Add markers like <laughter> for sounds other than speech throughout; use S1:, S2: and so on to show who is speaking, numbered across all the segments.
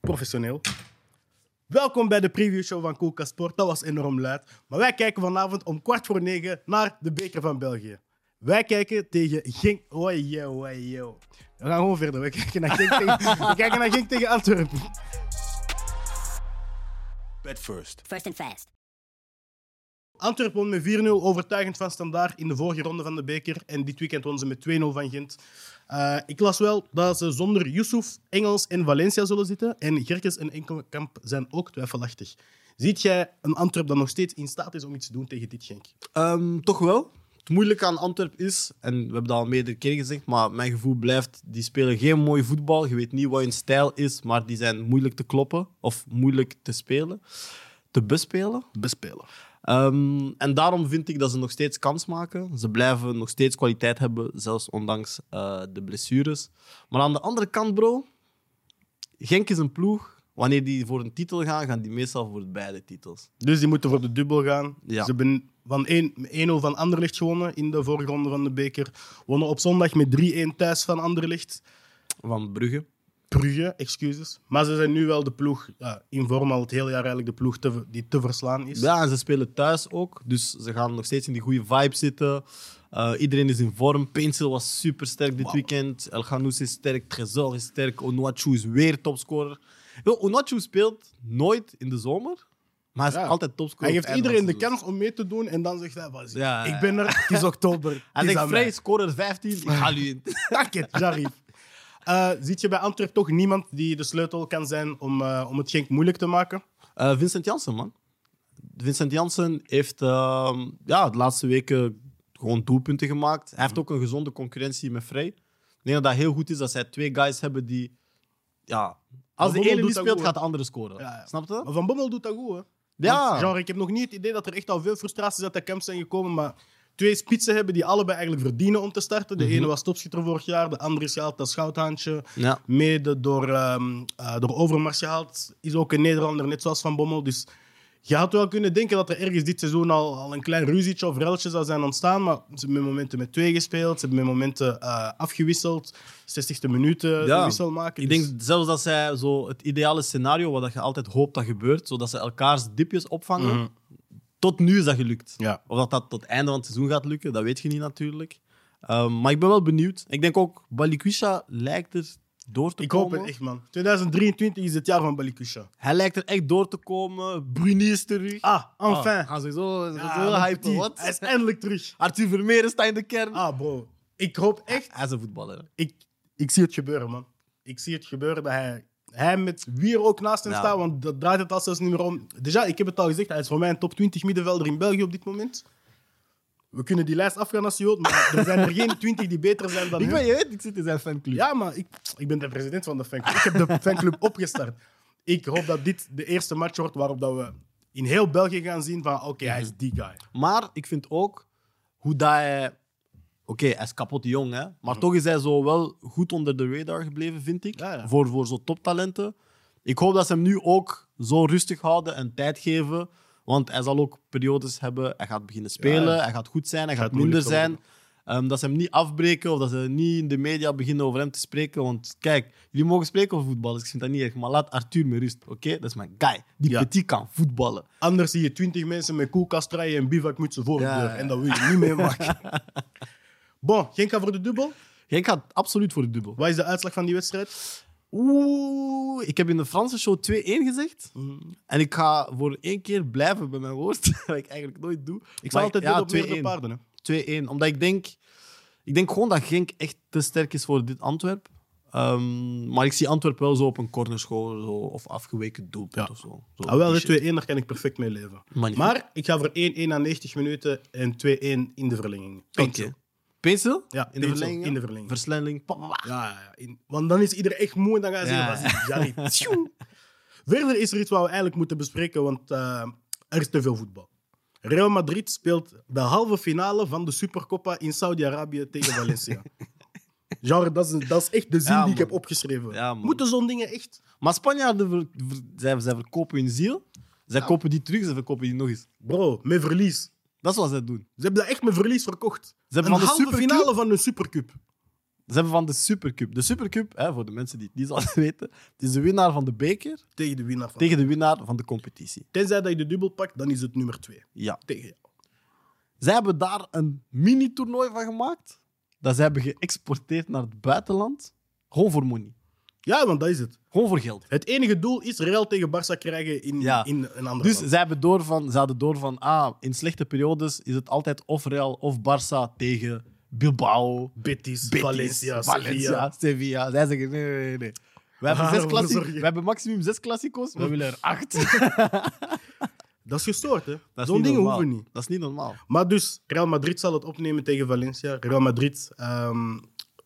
S1: professioneel. Welkom bij de previewshow van Koelka Sport. Dat was enorm luid. Maar wij kijken vanavond om kwart voor negen naar de beker van België. Wij kijken tegen Gink... Oei, yo, oei, yo. We gaan gewoon verder. We kijken naar Gink tegen, we kijken naar Genk tegen Antwerpen.
S2: Bed first.
S3: First and fast.
S1: Antwerpen won met 4-0 overtuigend van standaard in de vorige ronde van de beker. En dit weekend won ze met 2-0 van Gent. Eh, ik las wel dat ze zonder Yusuf, Engels en Valencia zullen zitten. En Gerkes en Enkelkamp zijn ook twijfelachtig. Ziet jij een Antwerp dat nog steeds in staat is om iets te doen tegen dit Genk?
S4: Ehm, toch wel. Het moeilijke aan Antwerp is, en we hebben dat al meerdere keren gezegd, maar mijn gevoel blijft, die spelen geen mooi voetbal. Je weet niet wat hun stijl is, maar die zijn moeilijk te kloppen of moeilijk te spelen. Te bespelen.
S1: Bespelen.
S4: Ehm, en daarom vind ik dat ze nog steeds kans maken. Ze blijven nog steeds kwaliteit hebben, zelfs ondanks eh, de blessures. Maar aan de andere kant, bro, Genk is een ploeg. Wanneer die voor een titel gaan, gaan die meestal voor beide titels.
S1: Dus die moeten voor de dubbel gaan.
S4: Ja.
S1: Ze hebben van één- 1-0 van Anderlecht gewonnen in de vorige ronde van de beker. Wonnen op zondag met 3-1 thuis van Anderlecht.
S4: Van Brugge.
S1: Brugge, excuses. Maar ze zijn nu wel de ploeg, ja, in vorm al het hele jaar eigenlijk, de ploeg te- die te verslaan is.
S4: Ja, en ze spelen thuis ook. Dus ze gaan nog steeds in die goede vibe zitten. Eh, iedereen is in vorm. Pencil was super sterk dit weekend. El Ghanous is sterk. Trezor is sterk. Onuachu is weer topscorer. Yo, Onuachu speelt nooit in de zomer. Maar hij is
S1: Ja.
S4: altijd topscorer.
S1: Hij geeft
S4: op het
S1: iedereen de
S4: einde van
S1: kans om mee te doen en dan zegt hij: "Wat is het?
S4: Ja, ja,
S1: Ik ben er, het is oktober. het is
S4: seizoen. <laughs> Hij
S1: aan
S4: zegt vrij,
S1: mij."
S4: scorer 15. Ik ga nu in.
S1: Dank je, Jarif. <laughs> Eh, ziet je bij Antwerp toch niemand die de sleutel kan zijn om, eh, om het Genk moeilijk te maken?
S4: Eh, Vincent Janssen, man. Vincent Janssen heeft ehm, ja, de laatste weken gewoon doelpunten gemaakt. Hij
S1: Mhm.
S4: heeft ook een gezonde concurrentie met Frey. Ik denk dat dat heel goed is dat zij twee guys hebben die... Ja, als de
S1: Bommel
S4: ene
S1: doet
S4: niet
S1: dat
S4: speelt,
S1: goed,
S4: gaat de andere scoren.
S1: Ja, ja.
S4: Snap je?
S1: Maar Van Bommel doet dat goed, hè?
S4: Ja.
S1: Want, genre, ik heb nog niet het idee dat er echt al veel frustraties uit de camp zijn gekomen, maar twee spitsen hebben die allebei eigenlijk verdienen om te starten.
S4: Mhm.
S1: De ene was topschitter vorig jaar, de andere is gehaald als schouthandje.
S4: Ja.
S1: Mede door, ehm, eh, door Overmars gehaald. Is ook een Nederlander, net zoals Van Bommel. Dus je had wel kunnen denken dat er ergens dit seizoen al, al een klein ruzietje of relletje zou zijn ontstaan. Maar ze hebben met momenten met twee gespeeld. Ze hebben met momenten eh, afgewisseld. 60e minuut eh, de wissel maken.
S4: Ik
S1: Dus-
S4: denk zelfs dat zij zo het ideale scenario, wat dat je altijd hoopt dat gebeurt, zodat ze elkaars dipjes opvangen. Tot nu is dat gelukt.
S1: Mhm. Ja.
S4: Of dat dat tot het einde van het seizoen gaat lukken, dat weet je niet natuurlijk. Ehm, maar ik ben wel benieuwd. Ik denk ook, Balikwisha lijkt er door te
S1: Ik
S4: komen.
S1: hoop het echt, man. 2023 is het jaar van Balikusha.
S4: Hij lijkt er echt door te komen. Bruni is terug.
S1: Ah, enfin.
S4: Ah, gaan ze zo, ze
S1: Ja,
S4: zo
S1: mijn
S4: hypen.
S1: petit.
S4: Wat?
S1: Hij is eindelijk terug.
S4: Arthur Vermeer staat in de kern.
S1: Ah, bro. Ik hoop echt...
S4: Hij is een voetballer.
S1: ik, ik zie het gebeuren, man. Ik zie het gebeuren dat hij, hij met wie er ook naast hem
S4: Ja.
S1: staat, want dat draait het al zelfs niet meer om. Dus ja, ik heb het al gezegd, hij is voor mij een top 20 middenvelder in België op dit moment. We kunnen die lijst afgaan als je wilt, maar er zijn er
S4: <laughs>
S1: geen 20 die beter zijn dan
S4: Ik
S1: hem.
S4: weet, je weet, ik zit in zijn fanclub.
S1: Ja, maar ik, ik ben de president van de fanclub. Ik heb de
S4: <laughs>
S1: fanclub opgestart. Ik hoop dat dit de eerste match wordt waarop dat we in heel België gaan zien van oké, hij is die guy.
S4: Maar ik vind ook hoe dat hij... Oké, hij is kapot jong, hè. Maar toch is hij zo wel goed onder de radar gebleven, vind ik.
S1: Ja, ja.
S4: Voor, voor zo'n toptalenten. Ik hoop dat ze hem nu ook zo rustig houden en tijd geven. Want hij zal ook periodes hebben. Hij gaat beginnen spelen, hij gaat goed zijn, hij gaat,
S1: Gaat
S4: minder
S1: moeilijk
S4: zijn. Ehm, dat ze hem niet afbreken of dat ze niet in de media beginnen over hem te spreken. Want kijk, jullie mogen spreken over voetbal, dus ik vind dat niet erg. Maar laat Arthur me rust, oké? Dat is mijn guy. Die
S1: Ja.
S4: petit kan voetballen.
S1: Anders zie je twintig mensen met koelkastrijen en bivakmutsen voor de
S4: Ja,
S1: deur.
S4: ja.
S1: En dat wil je niet
S4: <laughs>
S1: meemaken. bon, Genk gaat voor de dubbel.
S4: Jij gaat absoluut voor de dubbel.
S1: Wat is de uitslag van die wedstrijd?
S4: Oeh, ik heb in de Franse show 2-1 gezegd.
S1: Mhm.
S4: En ik ga voor één keer blijven bij mijn woord, <laughs> wat ik eigenlijk nooit doe.
S1: Ik zal altijd
S4: ja, Oh,
S1: ja, op meerdere paarden. Hè.
S4: 2-1. Omdat ik denk, ik denk gewoon dat Genk echt te sterk is voor dit Antwerp. Ehm, maar ik zie Antwerp wel zo op een cornerschool zo, of afgeweken doelpunt
S1: Ja.
S4: of zo. zo
S1: Ah, wel,
S4: die
S1: de
S4: shit.
S1: 2-1, daar kan ik perfect mee leven.
S4: Magnifiek.
S1: Maar ik ga voor 1-1 na 90 minuten en 2-1 in de verlenging. Pencil.
S4: Oké. Pencil?
S1: Ja,
S4: in de
S1: Pencil,
S4: verlenging.
S1: in de verlenging.
S4: Versnelling. pa, pa, pa.
S1: Ja, ja, ja. In- want dan is iedereen echt moe en dan gaan ze
S4: Ja.
S1: zeggen, "Wat is dit? Jarry, tjoe." Verder is er iets wat we eigenlijk moeten bespreken, want eh, er is te veel voetbal. Real Madrid speelt de halve finale van de Supercoppa in Saudi-Arabië
S4: <laughs>
S1: tegen Valencia. Genre, dat is, dat is echt de zin
S4: Ja,
S1: die ik
S4: man.
S1: heb opgeschreven.
S4: Ja, man.
S1: moeten zo'n dingen echt...
S4: Maar Spanjaarden ver, ver- zij, zij verkopen hun ziel. Zij kopen die terug, ze verkopen die nog eens.
S1: Bro, met verlies.
S4: Dat is wat zij doen.
S1: Ze hebben dat echt met verlies verkocht.
S4: hebben
S1: een
S4: van de
S1: halve
S4: Supercup-
S1: finale van de Supercup.
S4: Ze hebben van de Supercup. De Supercup, hè, voor de mensen die het niet zouden <laughs> weten, het is de winnaar van de beker
S1: Tegen de winnaar van.
S4: tegen de winnaar van de competitie.
S1: Tenzij dat je de dubbel pakt, dan is het nummer 2.
S4: Ja.
S1: Tegen jou.
S4: Zij hebben daar een mini-toernooi van gemaakt. Dat ze hebben geëxporteerd naar het buitenland. Gewoon voor money.
S1: Ja, want dat is het.
S4: Gewoon voor geld.
S1: Het enige doel is Real tegen Barça krijgen in,
S4: Ja.
S1: in een ander
S4: Dus
S1: land.
S4: zij hebben door van, ze hadden door van, ah, in slechte periodes is het altijd of Real of Barça tegen Bilbao,
S1: Betis,
S4: Betis,
S1: Valencia, Sevilla.
S4: Sevilla. Sevilla. Zij zeggen, nee, nee, nee, nee. We <laughs> hebben,
S1: Ah,
S4: zes
S1: we
S4: klassi-
S1: zorgen.
S4: we hebben maximum zes klassico's, we willen er acht.
S1: Dat is gestoord, hè?
S4: Dat is
S1: Zo'n
S4: niet
S1: dingen
S4: normaal.
S1: hoeven niet.
S4: Dat is niet normaal.
S1: Maar dus, Real Madrid zal het opnemen tegen Valencia. Real Madrid, ehm,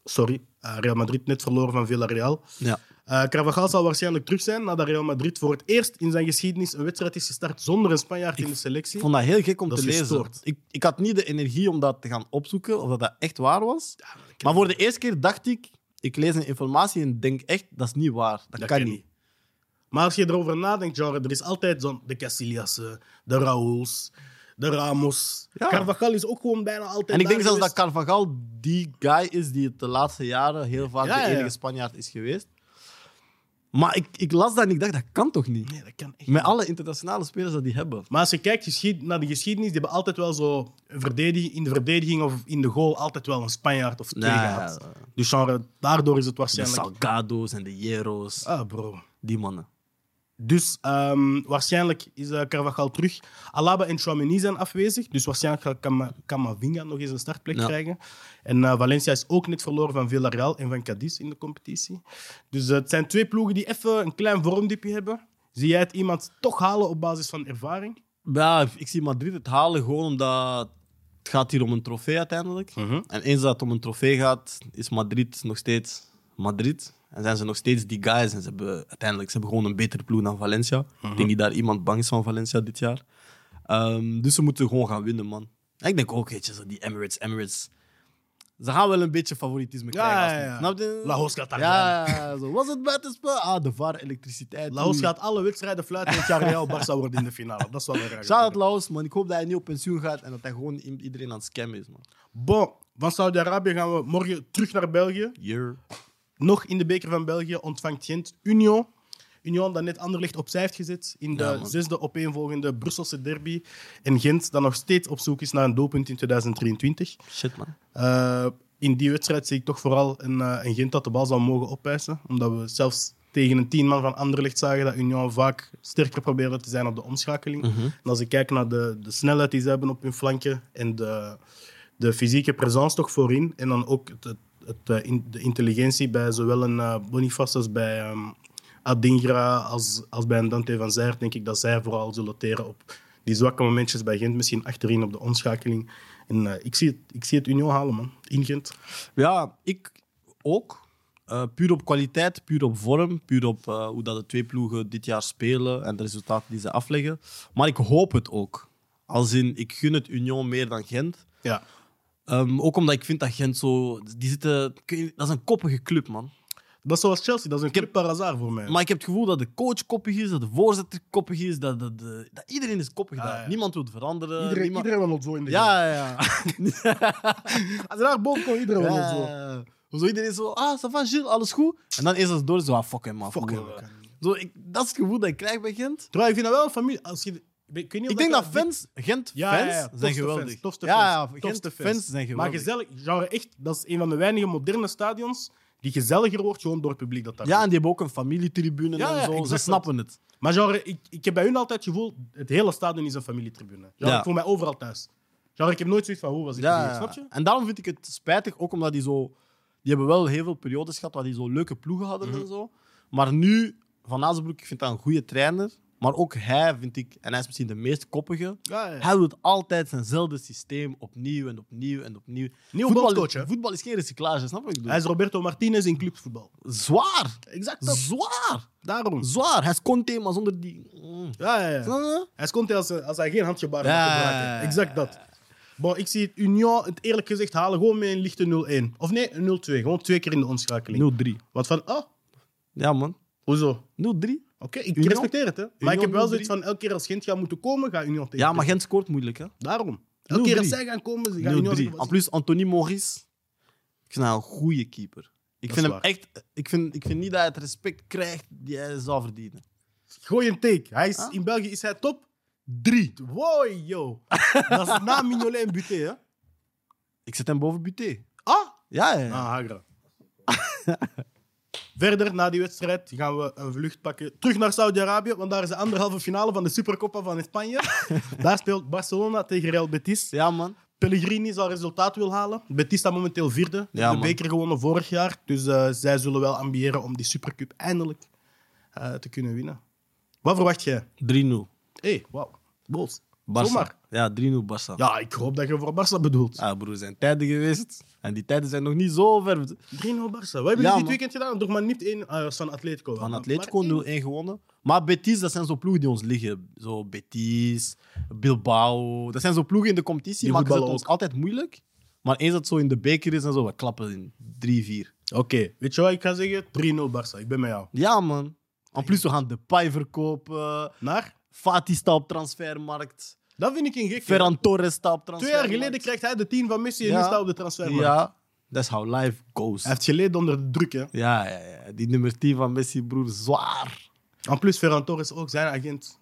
S1: sorry, eh, Real Madrid net verloren van Villarreal.
S4: Ja.
S1: Eh Carvajal zal waarschijnlijk terug zijn nadat Real Madrid voor het eerst in zijn geschiedenis een wedstrijd is gestart zonder een Spanjaard in de selectie.
S4: Ik vond dat heel gek om
S1: Dat
S4: te
S1: is
S4: lezen.
S1: gestoord.
S4: Ik, ik had niet de energie om dat te gaan opzoeken, of dat, dat echt waar was. maar voor de eerste keer dacht ik, ik lees een informatie en denk echt, dat is niet waar. Dat, kan niet.
S1: Maar als je erover nadenkt, genre, er is altijd zo'n de Casillas, de Raúls, de Ramos.
S4: Ja.
S1: Carvajal is ook gewoon bijna altijd
S4: En ik denk
S1: daar
S4: zelfs dat
S1: geweest.
S4: Carvajal die guy is die het de laatste jaren heel vaak
S1: Ja,
S4: de
S1: ja,
S4: enige
S1: ja.
S4: Spanjaard is geweest. Maar ik, ik las dat en ik dacht, dat kan toch niet?
S1: Nee, dat kan echt
S4: Met alle internationale spelers dat die hebben.
S1: Maar als je kijkt geschied- naar de geschiedenis, die hebben altijd wel zo een verdediging, in de verdediging of in de goal altijd wel een Spanjaard of twee
S4: Ja, ja,
S1: gehad.
S4: ja.
S1: Dus genre, daardoor is het
S4: De
S1: waarschijnlijk...
S4: Salgado's en de Jero's,
S1: Ah, bro.
S4: die mannen.
S1: Dus ehm, waarschijnlijk is eh, Carvajal terug. Alaba en Chouameni zijn afwezig. Dus waarschijnlijk gaat Cama- Camavinga nog eens een startplek
S4: Ja.
S1: krijgen. En eh, Valencia is ook net verloren van Villarreal en van Cadiz in de competitie. Dus eh, het zijn twee ploegen die even een klein vormdipje hebben. Zie jij het iemand toch halen op basis van ervaring?
S4: Ja, ik zie Madrid het halen gewoon omdat het gaat hier om een trofee uiteindelijk.
S1: Mhm.
S4: En eens dat het om een trofee gaat, is Madrid nog steeds Madrid. En zijn ze nog steeds die guys. En ze hebben uiteindelijk ze hebben gewoon een betere ploeg dan Valencia.
S1: Mhm.
S4: Ik denk niet dat iemand bang is van Valencia dit jaar. Ehm, dus ze moeten gewoon gaan winnen, man. En ik denk ook, weet je, zo die Emirates, Emirates. Ze gaan wel een beetje favoritisme krijgen. als
S1: ja,
S4: niet.
S1: ja.
S4: Snap je?
S1: Laos gaat daar
S4: Ja, ja, zo. Was het buitenspel? Ah, de VAR, elektriciteit.
S1: Laos
S4: oei.
S1: gaat alle wedstrijden fluiten en het jaar Real Barça wordt in de finale. Dat is wel een
S4: Shout
S1: raar.
S4: out Laos, man. Ik hoop dat hij niet op pensioen gaat en dat hij gewoon i- iedereen aan het scammen is, man.
S1: Bon, van Saudi-Arabië gaan we morgen terug naar België.
S4: Year.
S1: Nog in de beker van België ontvangt Gent Union. Union dat net Anderlecht opzij heeft gezet in de
S4: Ja, man.
S1: zesde opeenvolgende Brusselse derby. En Gent dat nog steeds op zoek is naar een doelpunt in 2023.
S4: Shit, man.
S1: Eh, in die wedstrijd zie ik toch vooral een, eh, een Gent dat de bal zou mogen opeisen. Omdat we zelfs tegen een tien man van Anderlecht zagen dat Union vaak sterker probeerde te zijn op de omschakeling. En als ik kijk naar de, de snelheid die ze hebben op hun flanken en de, de fysieke presence toch voorin. En dan ook het, het, het, eh, in- de intelligentie bij zowel een eh, Boniface als bij ehm, Adingra als, als bij een Dante van Zijert. Denk ik dat zij vooral zullen teren op die zwakke momentjes bij Gent. Misschien achterin op de omschakeling. En eh, ik, zie het, ik zie het Union halen, man. In Gent.
S4: Ja, ik ook. Eh, puur op kwaliteit, puur op vorm, puur op eh, hoe dat de twee ploegen dit jaar spelen en de resultaten die ze afleggen. Maar ik hoop het ook. Als in, ik gun het Union meer dan Gent.
S1: Ja.
S4: Ehm, ook omdat ik vind dat Gent zo... Die zitten, ik weet niet, dat is een koppige club, man.
S1: Dat is zoals Chelsea. Dat is een club par hasard voor mij.
S4: Maar ik heb het gevoel dat de coach koppig is, dat de voorzitter koppig is, dat, dat, dat, dat iedereen is koppig
S1: Ah,
S4: daar.
S1: ja.
S4: Niemand wil veranderen.
S1: iedereen,
S4: eh, niemand-
S1: iedereen wil het zo in de Gent.
S4: Ja, ja, ja.
S1: <laughs> Als er daar boven komt, iedereen wil het zo.
S4: Ja. Zo iedereen zo, ah, ça va, Gilles, alles goed? En dan is het door, zo, ah, fuck hem, man.
S1: Fuck
S4: fuck
S1: hem,
S4: hem.
S1: kan niet.
S4: Zo, ik, dat is het gevoel dat ik krijg bij Gent.
S1: Terwijl ik vind dat wel een familie. Als je, ik weet niet of
S4: Ik denk dat
S1: die-
S4: fans, Gent-fans,
S1: Ja, ja, ja, tofste
S4: zijn geweldig.
S1: fans, tofste
S4: ja, ja,
S1: fans, tofste
S4: Gent-fans
S1: fans.
S4: zijn
S1: Maar
S4: geweldig.
S1: gezellig, genre echt, dat is een van de weinige moderne stadions die gezelliger wordt gewoon door het publiek dat daar
S4: ja, en die hebben ook een familietribune
S1: Ja,
S4: en
S1: ja,
S4: zo.
S1: exact
S4: Ze
S1: dat.
S4: snappen het.
S1: komt. Maar genre, ik, ik heb bij hun altijd het gevoel, het hele stadion is een familietribune. Genre,
S4: Ja.
S1: Ik voel mij overal thuis. Genre, ik heb nooit zoiets van, hoe was ik
S4: Ja,
S1: hier,
S4: ja.
S1: snap je?
S4: En daarom vind ik het spijtig, ook omdat die zo... Die hebben wel heel veel periodes gehad waar die zo leuke ploegen hadden
S1: Mhm.
S4: en zo. Maar nu, Van Azenbroek, ik vind dat een goede trainer. Maar ook hij, vind ik, en hij is misschien de meest koppige...
S1: Ja, ja.
S4: Hij doet altijd zijnzelfde systeem opnieuw en opnieuw en opnieuw.
S1: Nieuwe
S4: voetbal,
S1: bondscoach, hè?
S4: voetbal is geen recyclage, snap je wat ik bedoel?
S1: Hij is Roberto Martinez in clubvoetbal.
S4: zwaar.
S1: Exact dat.
S4: Zwaar.
S1: Daarom.
S4: Zwaar. Hij is Conte, maar zonder die... Mm.
S1: Ja, ja, ja.
S4: Snap je?
S1: Hij komt als, eh, als hij geen handgebaar
S4: Ja,
S1: maakt.
S4: ja, ja, ja.
S1: Exact dat. Maar ik zie het Union, het eerlijk gezegd, halen gewoon met een lichte 0-1. Of nee, een 0-2. Gewoon twee keer in de omschakeling.
S4: 0-3.
S1: Wat van, oh,
S4: Ja, man.
S1: hoezo?
S4: 0-3.
S1: Oké, ik
S4: Union-
S1: respecteer het, hè. Maar ik
S4: Union
S1: heb wel
S4: doet
S1: zoiets
S4: drie.
S1: van, elke keer als Gent gaat moeten komen, gaat Union tegen.
S4: Ja, maar Gent scoort moeilijk, hè?
S1: Daarom. Elke keer als
S4: 0-3.
S1: zij gaan komen, ze gaan Union
S4: 0-3.
S1: zeggen,
S4: En
S1: wat is-
S4: plus, Anthony Maurice Ik vind haar een goede keeper. Ik
S1: Dat
S4: vind,
S1: is
S4: hem echt, ik, vind, ik vind niet dat hij het respect krijgt die hij zou verdienen.
S1: Gooi een take. Hij is,
S4: Huh?
S1: In België is hij top 3. Wow, yo. Dat is na Mignolet en Buté, hè?
S4: Ik zet hem boven Buté.
S1: Ah,
S4: Ja, ja, ja.
S1: Ah, Hagra. Verder, na die wedstrijd, gaan we een vlucht pakken terug naar Saudi-Arabië, want daar is de anderhalve finale van de Supercoppa van Spanje. daar speelt Barcelona tegen Real Betis.
S4: Ja, man.
S1: Pellegrini zal resultaat wil halen. Betis staat momenteel vierde.
S4: Ja,
S1: de
S4: man.
S1: beker gewonnen vorig jaar. Dus eh, zij zullen wel ambiëren om die Supercup eindelijk eh, te kunnen winnen. Wat verwacht jij?
S4: 3-0.
S1: Hé, hey, wauw. Boos.
S4: Barça.
S1: Zomaar.
S4: Ja, 3-0 Barça. Ja.
S1: Ja, ik hoop dat je voor Barça bedoelt. 3-0
S4: Ah, broer, er zijn tijden geweest. En die tijden zijn nog niet zo ver.
S1: Barça. Wat hebben jullie
S4: Ja,
S1: dit
S4: man.
S1: weekend gedaan? Nog maar niet één eh, van Atletico.
S4: Van
S1: Maar-
S4: Atletico
S1: maar één.
S4: 0-1 gewonnen. Maar Betis, dat zijn zo ploegen die ons liggen. Zo Betis, Bilbao. Dat zijn zo ploegen in de competitie.
S1: Die
S4: Die maken ze het
S1: voetballen
S4: ons altijd moeilijk. Maar eens dat het zo in de beker is en zo, we klappen in 3-4.
S1: Oké, weet je wat ik ga zeggen? 3-0 Barça, ik ben met jou.
S4: Ja, man. En plus, we gaan de Pai verkopen.
S1: Maar,
S4: Fati staat op transfermarkt.
S1: dat vind ik een gek.
S4: Ferran Torres staat op
S1: Twee jaar
S4: transfermarkt.
S1: geleden krijgt hij de 10 van Messi en
S4: Ja.
S1: nu staat hij op de transfermarkt.
S4: Ja, that's how life goes.
S1: Hij heeft geleden onder de druk. Hè.
S4: Ja, ja, ja, die nummer 10 van Messi, broer, zwaar.
S1: En plus Ferran Torres ook, zijn agent.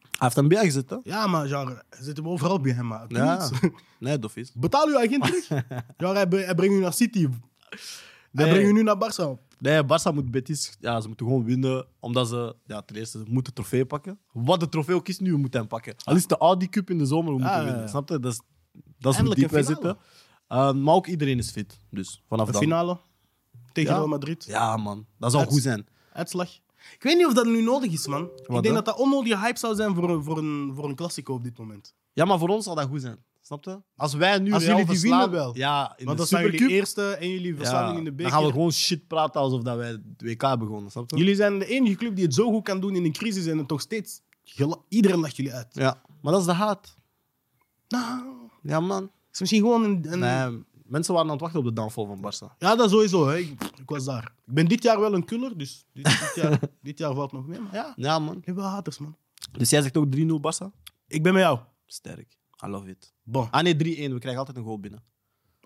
S4: Hij heeft hem bijgezet, hè?
S1: Ja, maar genre, ze zitten overal bij hem. Maar.
S4: Ja.
S1: Please.
S4: <laughs> Nee, dof is.
S1: <laughs> Betaal uw agent
S4: <laughs>
S1: terug. genre, hij, bre- hij brengt u naar City. Hij
S4: Nee.
S1: brengt u nu naar Barça.
S4: Nee, Barça moet Betis. Ja, ze moeten gewoon winnen. Omdat ze, ja, ten eerste, ze moeten de trofee pakken. Wat de trofee ook is, nu we moeten hem pakken. Al is het de Audi Cup in de zomer, we moeten
S1: Ah, ja, ja.
S4: winnen. Snap je? Dat is, dat is hoe
S1: Eindelijk
S4: diep wij
S1: een finale.
S4: zitten. Eh, maar ook iedereen is fit. Dus vanaf
S1: De
S4: dan.
S1: finale tegen
S4: Ja.
S1: Real Madrid.
S4: Ja, man. Dat zou
S1: Het-
S4: goed zijn.
S1: Uitslag. Ik weet niet of dat nu nodig is, man. ik denk
S4: dan?
S1: dat dat onnodige hype zou zijn voor, een- voor, een, voor een klassico op dit moment.
S4: Ja, maar voor ons zal dat goed zijn. Snap je? Als wij nu
S1: Als
S4: Real
S1: jullie die
S4: verslaan-
S1: winnen wel.
S4: Ja, in
S1: Want
S4: de
S1: dat zijn jullie
S4: Supercup.
S1: eerste en jullie verslaan
S4: ja,
S1: in de
S4: Dan
S1: beker.
S4: gaan we gewoon shit praten alsof dat wij het WK begonnen. Snap je?
S1: Jullie zijn de enige club die het zo goed kan doen in een crisis en het toch steeds. gela- Iedereen lacht jullie uit.
S4: Ja, maar dat is de haat.
S1: Nou,
S4: Ja, man.
S1: het is misschien gewoon een. een-
S4: Nee, mensen waren aan het wachten op de downfall van Barça.
S1: Ja, dat sowieso. Hè. Ik, ik was daar. Ik ben dit jaar wel een kuller, dus dit, dit
S4: <laughs>
S1: jaar, dit jaar valt nog mee. Maar ja,
S4: Ja, man.
S1: ik heb wel haters, man.
S4: Dus jij zegt ook 3-0 Barça?
S1: Ik ben met jou.
S4: Sterk. I love it.
S1: Bon.
S4: Ah nee, 3-1. We krijgen altijd een goal binnen.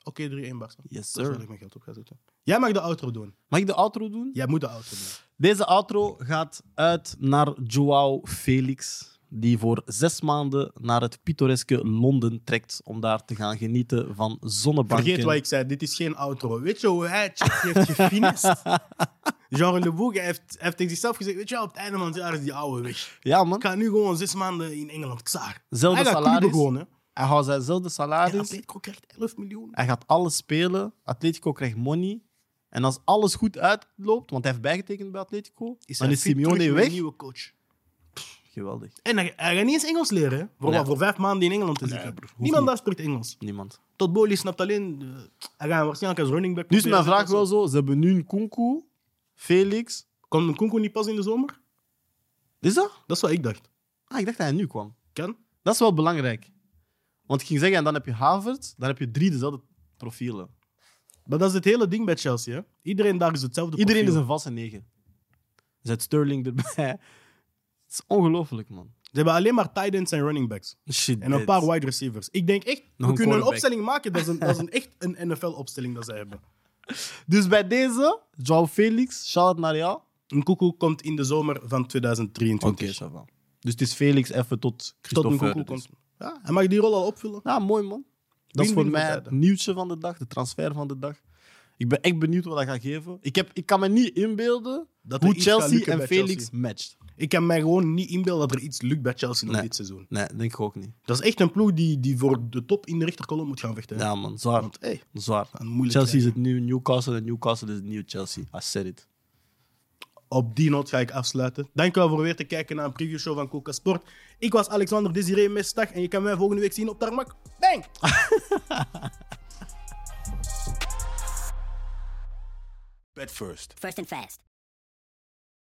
S1: Oké, 3-1 Barca.
S4: Yes,
S1: Dat is waar ik mijn geld op ga zetten. Jij mag de outro doen.
S4: Mag ik de outro doen?
S1: Jij moet de outro doen.
S4: Deze outro gaat uit naar Joao Felix. Die voor zes maanden naar het pittoreske Londen trekt. Om daar te gaan genieten van zonnebanken.
S1: Vergeet wat ik zei, dit is geen outro. Weet je hoe hij Chelsea heeft
S4: <laughs>
S1: gefinest? Jean Le Boeg heeft, heeft tegen zichzelf gezegd: Weet je, wel, op het einde van het jaar is die oude weg.
S4: Ja, man.
S1: Ik ga nu gewoon zes maanden in Engeland klaar.
S4: Zelfde
S1: Hij gaat
S4: salaris.
S1: clubben gewoon, hè?
S4: Hij houdt zijnzelfde
S1: En
S4: salaris.
S1: Atletico krijgt 11 miljoen.
S4: Hij gaat alles spelen. Atletico krijgt money. En als alles goed uitloopt, want hij heeft bijgetekend bij Atletico, dan
S1: hij
S4: is
S1: fit terug
S4: Simeone
S1: met
S4: weg.
S1: Een nieuwe coach.
S4: Geweldig.
S1: En hij, hij gaat niet eens Engels leren, hè? Voor,
S4: Nee.
S1: wat, voor vijf maanden in Engeland te
S4: Nee,
S1: zitten.
S4: broer, hoeft
S1: Niemand
S4: niet.
S1: daar spreekt Engels.
S4: Niemand.
S1: Tot Boli snapt alleen. eh, hij gaat waarschijnlijk als running back.
S4: Nu is mijn
S1: proberen.
S4: vraag wel zo. Ze hebben nu een Kunku, Felix.
S1: Kon Nkunku niet pas in de zomer?
S4: Is dat?
S1: Dat is wat ik dacht.
S4: Ah, ik dacht dat hij nu kwam.
S1: Kan?
S4: Dat is wel belangrijk. Want ik ging zeggen, en dan heb je Havert, dan heb je drie dezelfde profielen.
S1: Maar dat is het hele ding bij Chelsea. Hè? Iedereen daar is hetzelfde.
S4: Iedereen
S1: profiel.
S4: is een vaste negen. Zet Sterling erbij. <laughs> Het is ongelooflijk, man.
S1: Ze hebben alleen maar tight ends en running backs.
S4: Shit,
S1: En een
S4: dit.
S1: paar wide receivers. Ik denk echt,
S4: Nog
S1: we kunnen
S4: een
S1: een
S4: quarterback.
S1: opstelling maken. Dat is, een, dat is een echt een NFL-opstelling dat zij hebben.
S4: Dus bij deze, Joao Felix, shout-out naar jou.
S1: Een koekoe komt in de zomer van 2023.
S4: ça va. Dus het is Felix even tot
S1: Tot een
S4: Christophe. dus.
S1: koekoe komt. Ja, hij mag die rol al opvullen.
S4: Ja, Nou, mooi man. Dat is
S1: Win-win
S4: voor
S1: voor
S4: mij het
S1: beide.
S4: nieuwtje van de dag, de transfer van de dag. Ik ben echt benieuwd wat dat gaat geven. Ik, heb, ik kan me niet inbeelden
S1: Dat er
S4: hoe
S1: iets gaat
S4: Chelsea
S1: lukken
S4: en
S1: bij
S4: Felix
S1: Chelsea.
S4: matcht.
S1: Ik kan mij gewoon niet inbeelden dat er iets lukt bij Chelsea nog
S4: Nee.
S1: dit seizoen.
S4: Nee, denk ik ook niet.
S1: Dat is echt een ploeg die, die voor de top in de rechterkolom moet gaan vechten. hè.
S4: Ja man, zwaar.
S1: Want hey,
S4: Zwaar.
S1: een moeilijk
S4: Chelsea is
S1: krijgen.
S4: het nieuwe Newcastle en Newcastle is het nieuwe Chelsea. I said it.
S1: Op die noot ga ik afsluiten. Dankjewel voor weer te kijken naar een previewshow van Coca Sport. Ik was Alexander Desiree Mestag en je kan mij volgende week zien op Tarmac. Bang!
S2: Bet first.
S3: First and fast.